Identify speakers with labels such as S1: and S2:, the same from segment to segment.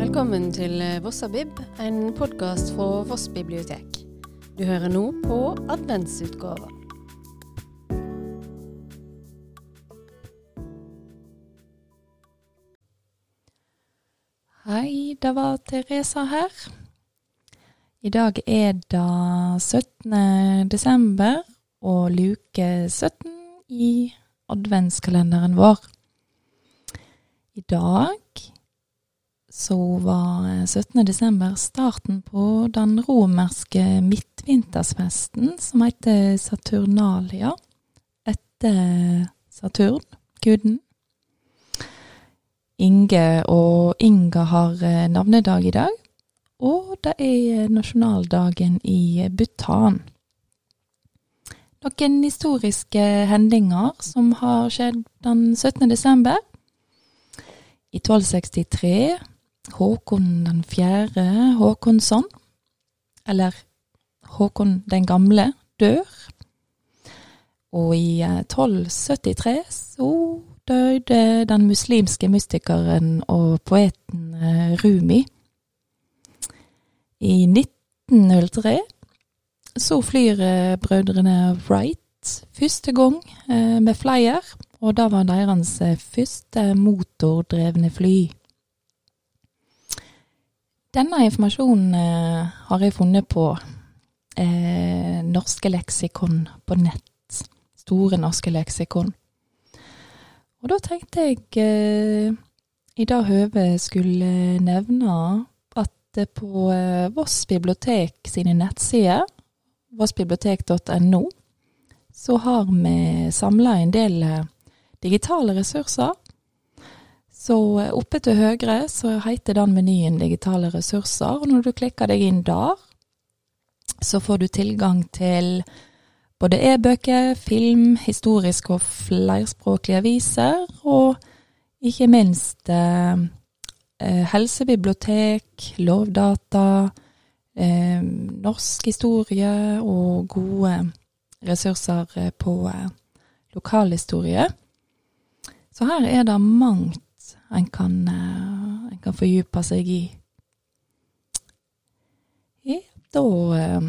S1: Velkommen til Vossabib, en podkast fra Voss bibliotek. Du hører nå på adventsutgava.
S2: Hei, det var Teresa her. I dag er det 17. desember og luke 17 i adventskalenderen vår. I dag så var 17. desember starten på den romerske midtvintersfesten som heter Saturnalia, etter Saturn, guden. Inge og Inga har eh, navnedag i dag. Og det er eh, nasjonaldagen i Bhutan. Noen historiske hendinger som har skjedd den 17. desember. I 1263 Håkon den fjerde Håkonsson, eller Håkon den gamle, dør. Og i eh, 1273 så døde den muslimske mystikeren og poeten eh, Rumi. I 1903 så flyr eh, brødrene Wright første gang eh, med flyer, og da var deres eh, første motordrevne fly. Denne informasjonen eh, har jeg funnet på eh, norske leksikon på nett. Store norske leksikon. Og da tenkte jeg eh, i det høvet skulle nevne at eh, på eh, Voss bibliotek sine nettsider, vossbibliotek.no, så har vi samla en del eh, digitale ressurser. Så eh, oppe til høyre så heter den menyen 'digitale ressurser', og når du klikker deg inn der, så får du tilgang til både e-bøker, film, historiske og flerspråklige aviser, og ikke minst eh, eh, helsebibliotek, lovdata, eh, norsk historie og gode ressurser eh, på eh, lokalhistorie. Så her er det mangt en kan, eh, en kan fordype seg i. Ja, da eh,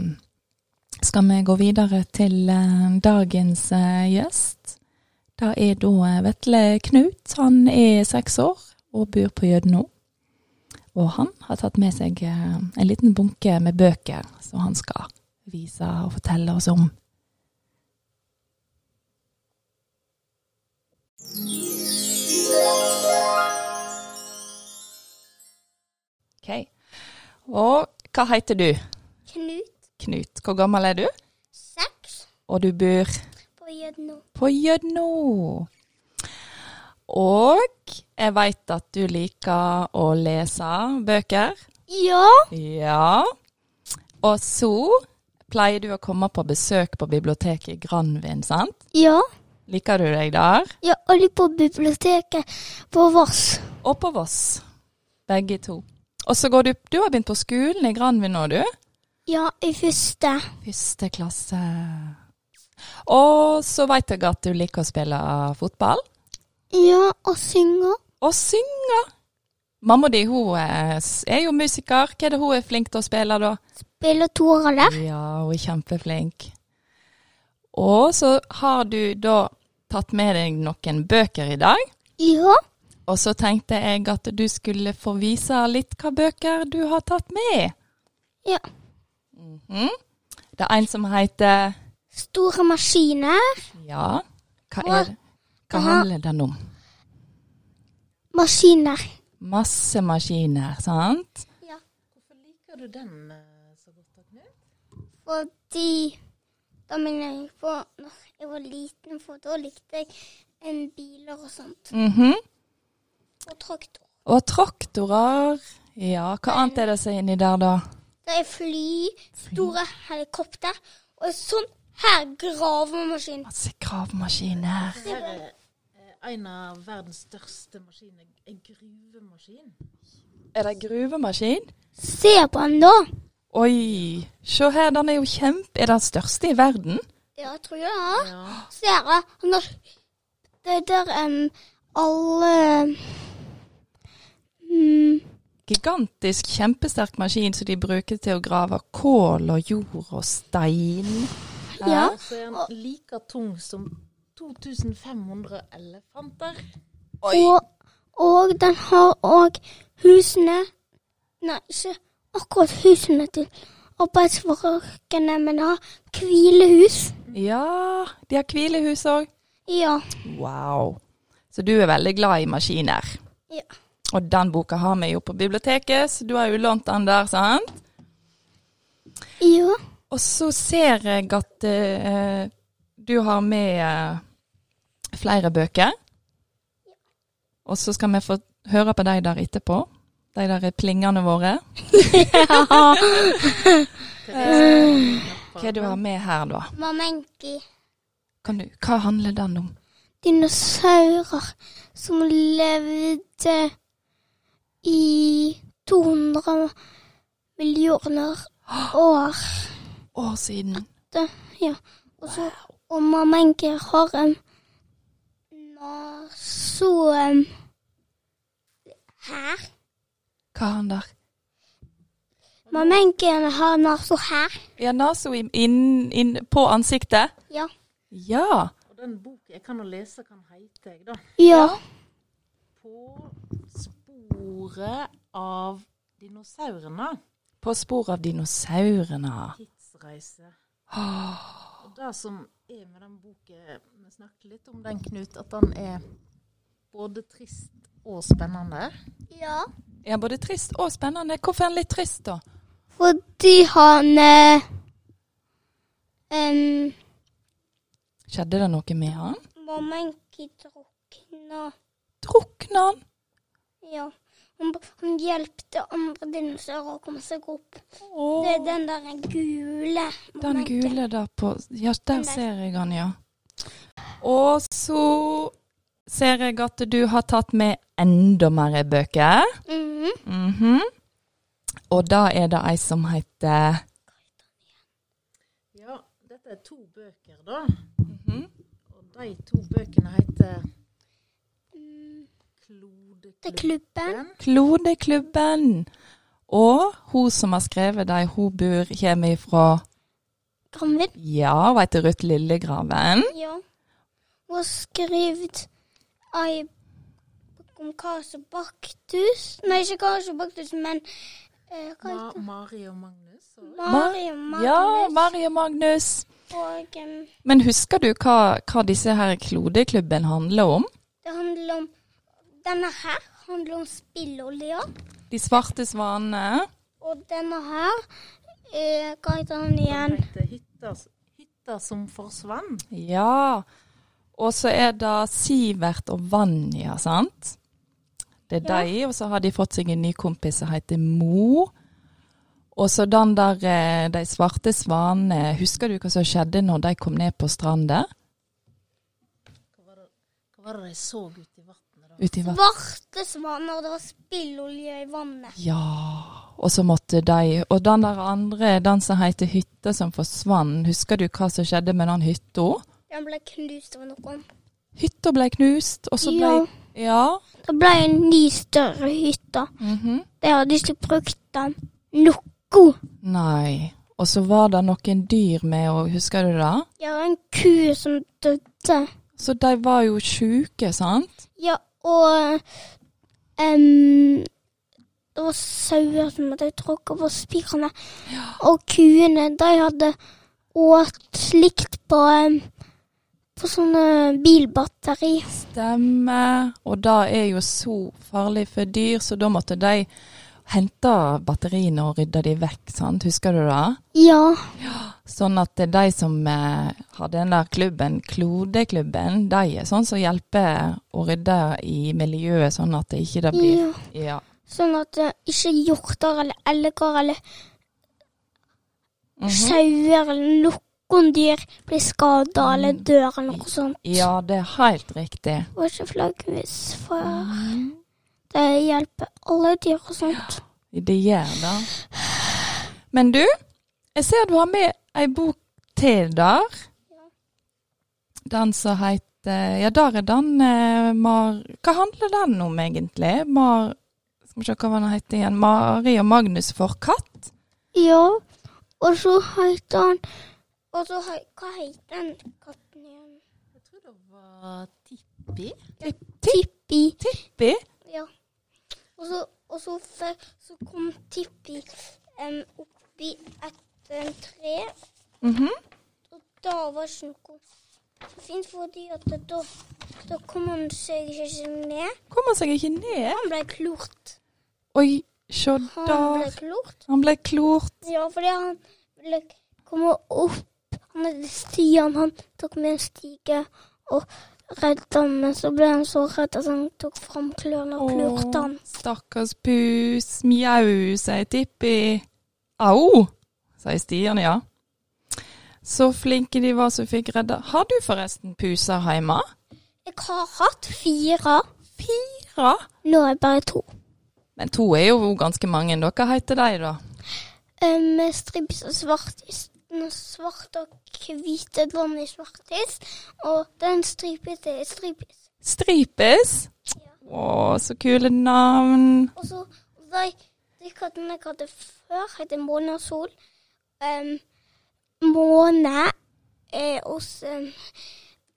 S2: skal vi gå videre til eh, dagens eh, gjest. Det er da eh, Vetle Knut. Han er seks år og bor på Gjødno. Og han har tatt med seg eh, en liten bunke med bøker som han skal vise og fortelle oss om. Ok. Og hva heter du?
S3: Knut
S2: Knut, hvor gammel er du?
S3: 6
S2: Og du bor
S3: på Jødno.
S2: på Gjødno. Og jeg veit at du liker å lese bøker.
S3: Ja,
S2: Ja. Og så pleier du å komme på besøk på biblioteket i Granvin, sant?
S3: ja.
S2: Liker du deg der?
S3: Jeg er aldri på biblioteket på Voss.
S2: Og på Voss. Begge to. Og så går du Du har begynt på skolen i Granvin nå, du?
S3: Ja, i første.
S2: Første klasse. Og så veit jeg at du liker å spille fotball.
S3: Ja, og synger.
S2: og synge. Mamma di hun er, er jo musiker. Hva er det hun er flink til å spille, da?
S3: Spiller toere der.
S2: Ja, hun er kjempeflink. Og så har du da tatt med deg noen bøker i dag.
S3: Ja,
S2: Og så tenkte jeg at du skulle få vise litt hva bøker du har tatt med.
S3: ja.
S2: Mhm. Det er en som heter
S3: Store maskiner.
S2: Ja, hva er det? Hva handler den om?
S3: Maskiner.
S2: Masse maskiner, sant?
S3: Ja.
S4: Liker du den eh, så godt, da, Knut?
S3: Fordi da minner jeg på når jeg var liten, for da likte jeg en biler og sånt.
S2: Mhm.
S3: Og traktor.
S2: Og traktorer. Ja, hva annet er det som er inni der, da?
S3: Det er fly, store helikopter og en sånn her gravemaskin.
S2: Masse gravemaskiner.
S4: Her er eh, en av verdens største maskiner, en gruvemaskin.
S2: Er det gruvemaskin?
S3: Se på den, da.
S2: Oi, se her, den er jo kjempe... Er den største i verden?
S3: Ja, jeg tror det er.
S4: Ja.
S3: Ser jeg. Han har Det der em, alle mm,
S2: gigantisk, kjempesterk maskin som de bruker til å grave kål og jord og stein.
S3: Ja.
S4: Og så er den Altså, like tung som 2500 elefanter.
S3: Og, og den har òg husene Nei, ikke akkurat husene til arbeidsfolkene, men den har hvilehus.
S2: Ja, de har hvilehus òg.
S3: Ja.
S2: Wow. Så du er veldig glad i maskiner.
S3: Ja.
S2: Og den boka har vi jo på biblioteket, så du har jo lånt den der, sant?
S3: ja.
S2: Og så ser jeg at eh, du har med eh, flere bøker. Og så skal vi få høre på deg der etterpå. De der plingene våre. Hva er det du har med her, da?
S3: Mamenki.
S2: Kan du, hva handler den om?
S3: Dinosaurer som levde i 200 millioner år.
S2: År siden.
S3: Ja. Og, så, og Mamenki har en nasum her.
S2: Hva er han der?
S3: Mamenken har naso her.
S2: Ja, nesa inn, inn på ansiktet.
S3: Ja.
S2: Ja.
S4: Og den boken jeg kan å lese, kan heite jeg, da.
S3: Ja.
S4: På sporet av dinosaurene.
S2: På spor av dinosaurene.
S4: Tidsreise.
S2: Åh,
S4: Og det som er med den boken Vi snakket litt om den, Knut, at den er både trist og spennende.
S3: ja.
S2: Ja, både trist og spennende. Hvorfor er han litt trist, da?
S3: Fordi han eh, em,
S2: Skjedde det noe med han?
S3: Mamenki drukna.
S2: Drukna han?
S3: Ja. Han, han hjalp andre dinosaurer å komme seg opp.
S2: Åh,
S3: Det er den der gule.
S2: den
S3: Mamenken.
S2: gule der på Ja, der
S3: Den der.
S2: ser jeg han, ja. Og så ser jeg at du har tatt med enda mer bøker.
S3: Mhm.
S2: Mhm. Og da er det ei som heter
S4: Ja, dette er to bøker, da. Og de to bøkene heter
S3: Mm, Det er
S4: Klodeklubben.
S3: klubben.
S2: Klodeklubben. Og hun som har skrevet dem, hun bor hjemme ifra
S3: Granvin.
S2: Ja, hun heter Ruth Lillegraven.
S3: Ja. Hun har skrevet ei bok om Kasebaktus. Nei, ikke Kasebaktus, men eh, hva
S4: Ma
S3: heter det?
S4: Mari og Magnus. Og
S3: Mario
S2: Ja,
S3: Magnus.
S2: Mari og Magnus.
S3: og em,
S2: Men husker du hva, hva disse her klodeklubben handler om?
S3: det handler om Denne her handler om spillolja.
S2: De svarte svanene.
S3: Og denne her eh, Hva heter den igjen?
S4: den heter Hytta, Hytta som forsvant.
S2: Ja. Og så er det Sivert og Vanja, sant? Det er
S3: Ja.
S2: de, og så har de fått seg en ny kompis som heter Mo. Og så den der eh, De svarte svanene, husker du hva som skjedde når de kom ned på stranda?
S4: Hva var det, hva var det de så ute i vannet, da?
S2: Ute i vannet?
S3: Svarte svaner, og det var spillolje i vannet.
S2: Ja. Og så måtte de Og den der andre, den som heter Hytta som forsvant, husker du hva som skjedde med den hytta?
S3: Den ble knust av noen.
S2: Hytta ble knust, og så ble
S3: Ja.
S2: Ja.
S3: Det ble en ny, større hytte.
S2: Mhm.
S3: De hadde ikke brukt den noe.
S2: Nei. Og så var det noen dyr med, og husker du det?
S3: Ja, en ku som døde.
S2: Så de var jo sjuke, sant?
S3: Ja, og em, Det var sauer som hadde tråkka på spirene. Og kuene, de hadde åt slikt på em, På sånne bilbatteri.
S2: Stemme. Og det er jo så farlig for dyr, så da måtte de hente batteriene og rydde de vekk, sant? Husker du det?
S3: Ja.
S2: Sånn at det er de som eh, har den der klubben, klodeklubben, de er sånn som hjelper å rydde i miljøet, sånn at det ikke det blir
S3: ja.
S2: Ja.
S3: Sånn at eh, ikke hjorter eller elger eller
S2: Mhm.
S3: sauer eller noen dyr blir skada eller dør eller noe sånt.
S2: Ja, det er helt riktig.
S3: Og ikke flaggermus, for det hjelper alle dyr og sånt.
S2: Det gjør det. Men du, jeg ser du har med ei bok til der. Den som heter Ja, der er den eh, Mar... Hva handler den om, egentlig? Mar... Skal Må se hva han heter igjen. Mari og Magnus får katt.
S3: Ja. Og så heter han Og så he, Hva heter den katten igjen?
S4: Jeg tror det var Tippi.
S3: Tippi.
S2: Tippi.
S3: Ja. Og så, og så, fe- så kom Tippi em, oppi et em, tre,
S2: Mhm.
S3: og da var det ikke noe fint, fordi at da, da kom han seg ikke ned.
S2: Kom han seg ikke ned?
S3: Han ble klort.
S2: Oi, se
S3: Han ble
S2: der.
S3: klort.
S2: Han ble klort.
S3: Ja, fordi han ville komme opp. Han hadde Stian, han tok med en stige og redda ham, men så ble han så redd at han tok fram klørne og klorte han.
S2: Åh, Stakkars pus. Mjau, sier Tippi. Au, sier Stian, ja. Så flinke de var som fikk redda. Har du forresten puser hjemme?
S3: Jeg har hatt fire.
S2: Ja.
S3: Nå er jeg bare to.
S2: Men to er jo ganske mange. Da. Hva heter de, da?
S3: Um, strips og svartis. Den svart og hvite vann i svartis. Og den stripete er stripis.
S2: Stripes? Å, så kule navn.
S3: Og så de, de kattene jeg hadde før, heter Måne og Sol. Um, måne er hos, um,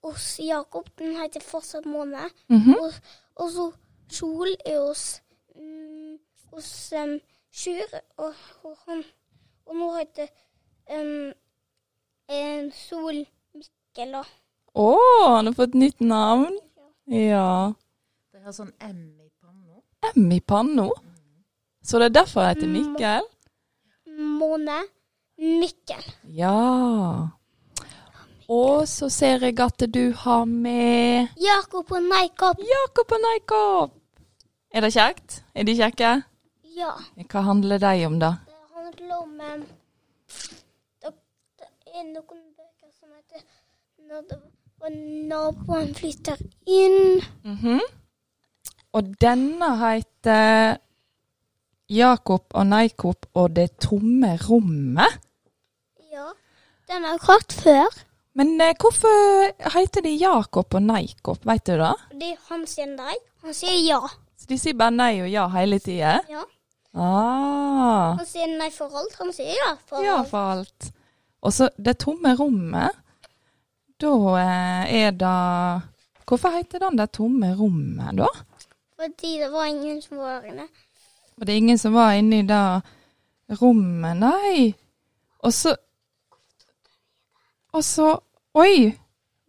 S3: hos Jakob. Den heter fortsatt Måne.
S2: Mhm.
S3: Og, og så Sol er hos, mm, hos um, Sjur, og, og han Og nå heter um, en Sol Mikkel, da.
S2: Å, han har fått nytt navn. Ja.
S4: De har sånn M i panna.
S2: M i panna. Så det er derfor jeg heter Mikkel?
S3: Måne Mikkel.
S2: Ja. Og så ser jeg at du har med
S3: Jakob og Neikop.
S2: Jakob og Neikop. Er det kjekt? Er de kjekke?
S3: Ja.
S2: Hva handler de om, da?
S3: Det handler om eh, det, det er noen bøker som heter Når det var naboen flytter inn.
S2: Mhm. Og denne heter Jakob og Neikop og det tomme rommet.
S3: Ja. Den har jeg hatt før.
S2: Men eh, hvorfor heter de Jakob og Neikop, veit du det?
S3: Fordi han sier nei. Han sier ja.
S2: Så de sier bare nei og ja hele tida?
S3: ja.
S2: Ah.
S3: Han sier nei for alt. Han sier ja for
S2: Ja,
S3: alt.
S2: for alt. Og så det tomme rommet. Da eh, er det Hvorfor heter den det tomme rommet, da?
S3: Fordi det var ingen som var inne.
S2: Og det er ingen som var inne i det rommet, nei. Og så Og så Oi!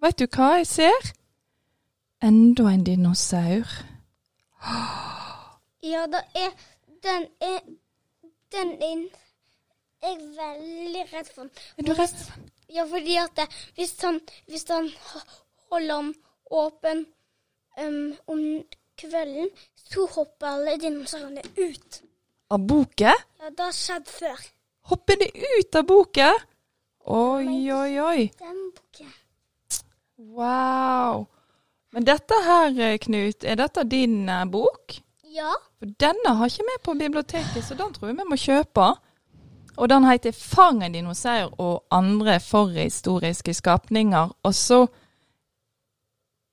S2: Veit du hva jeg ser? Enda en dinosaur.
S3: Ja, det er Den er Den er Jeg er veldig redd for den.
S2: Er du redd? for den?
S3: Ja, fordi at det, hvis, han, hvis han ho- holder den åpen em, om kvelden, så hopper alle dinosaurene ut.
S2: Av boket?
S3: Ja, det har skjedd før.
S2: Hopper de ut av boket? Oi, oi, oi.
S3: Den boken.
S2: Wow. Men dette her, eh, Knut, er dette din eh, bok?
S3: Ja.
S2: For denne har ikke vi på biblioteket, så den tror jeg vi må kjøpe. Og den heter 'Fang en dinosaur og andre forhistoriske skapninger'. Og så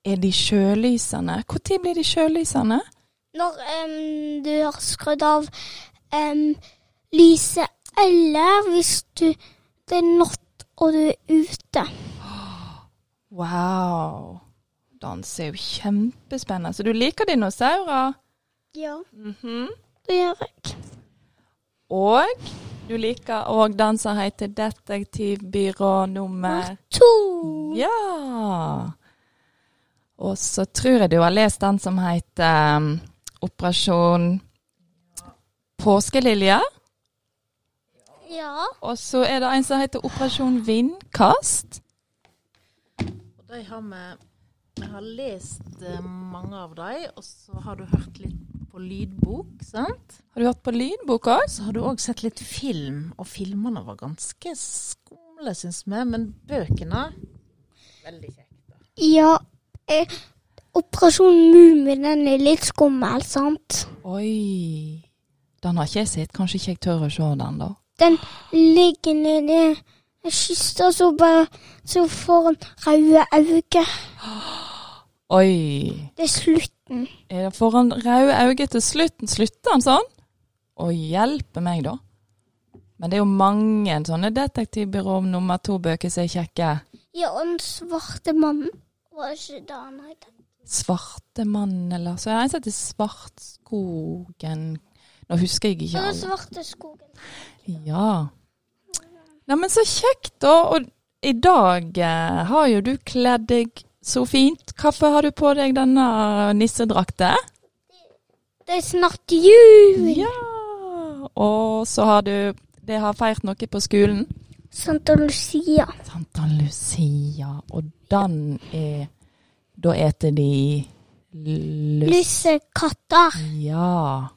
S2: er de sjølysende. Når blir de sjølysende?
S3: Når em, du har skrudd av em, lyset, eller hvis du, det er natt og du er ute.
S2: Wow. Den ser jo kjempespennende Så du liker dinosaurer?
S3: Ja,
S2: Mhm.
S3: det gjør jeg.
S2: Og du liker òg den som heter 'Detektivbyrå nummer
S3: To.
S2: Ja. Og så tror jeg du har lest den som heter um, Operasjon påskelilje.
S3: Ja.
S2: Og så er det en som heter Operasjon vindkast.
S4: Og de har vi Jeg har lest eh, mange av dem, og så har du hørt litt på lydbok, sant?
S2: Har du hørt på lydbok òg?
S4: Så har du òg sett litt film, og filmene var ganske skumle, syns vi. Men bøkene Veldig kjekt.
S3: Ja, eh, Operasjon Mumin den er litt skummel, sant?
S2: Oi. Den har ikke jeg sett. Kanskje ikke jeg tør å se den, da.
S3: Den ligger nedi en kiste, og så bare så får han røde øyne.
S2: Oi.
S3: Det er slutten.
S2: Er det foran røde øyne til slutten? Slutter han sånn? Å hjelpe meg, da. Men det er jo mange sånne detektivbyrå nummer to-bøker som er kjekke.
S3: Ja, og den svarte mannen var ikke det han het.
S2: Svarte mann, eller Så er det en som heter Svartskogen Nå husker jeg ikke
S3: Den
S2: alle.
S3: svarte skogen.
S2: Ja. Nei, men så kjekt, da. Og i dag eh, har jo du kledd deg så fint. Hvorfor har du på deg denne nissedrakta?
S3: Det er snart jul!
S2: Ja. Og så har du Det har feirt noe på skolen.
S3: Santa Lucia.
S2: Santa Lucia, og den er Da eter de lus...
S3: Lussekatter.
S2: Ja.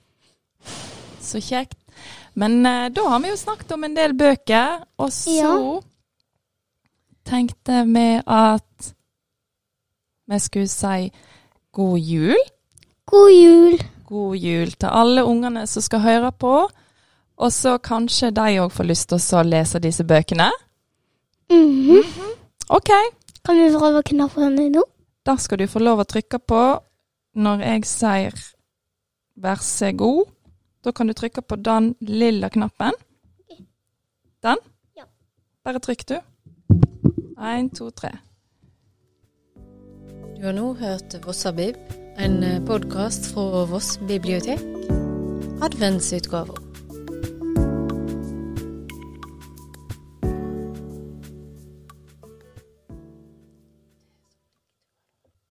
S2: Så kjekt. Men eh, da har vi jo snakket om en del bøker, og så
S3: Ja.
S2: tenkte vi at vi skulle si god jul.
S3: God jul.
S2: God jul til alle ungene som skal høre på. Og så kanskje de òg får lyst til å lese disse bøkene.
S3: Mhm.
S2: OK.
S3: Kan vi prøve knappene nå?
S2: Da skal du få lov å trykke på når jeg sier vær så god. Da kan du trykke på den lilla knappen. Den?
S3: Ja.
S2: Bare trykk, du. Én, to, tre.
S1: Du har nå hørt eh, Vossabib, en podkast fra Voss bibliotek, adventsutgava.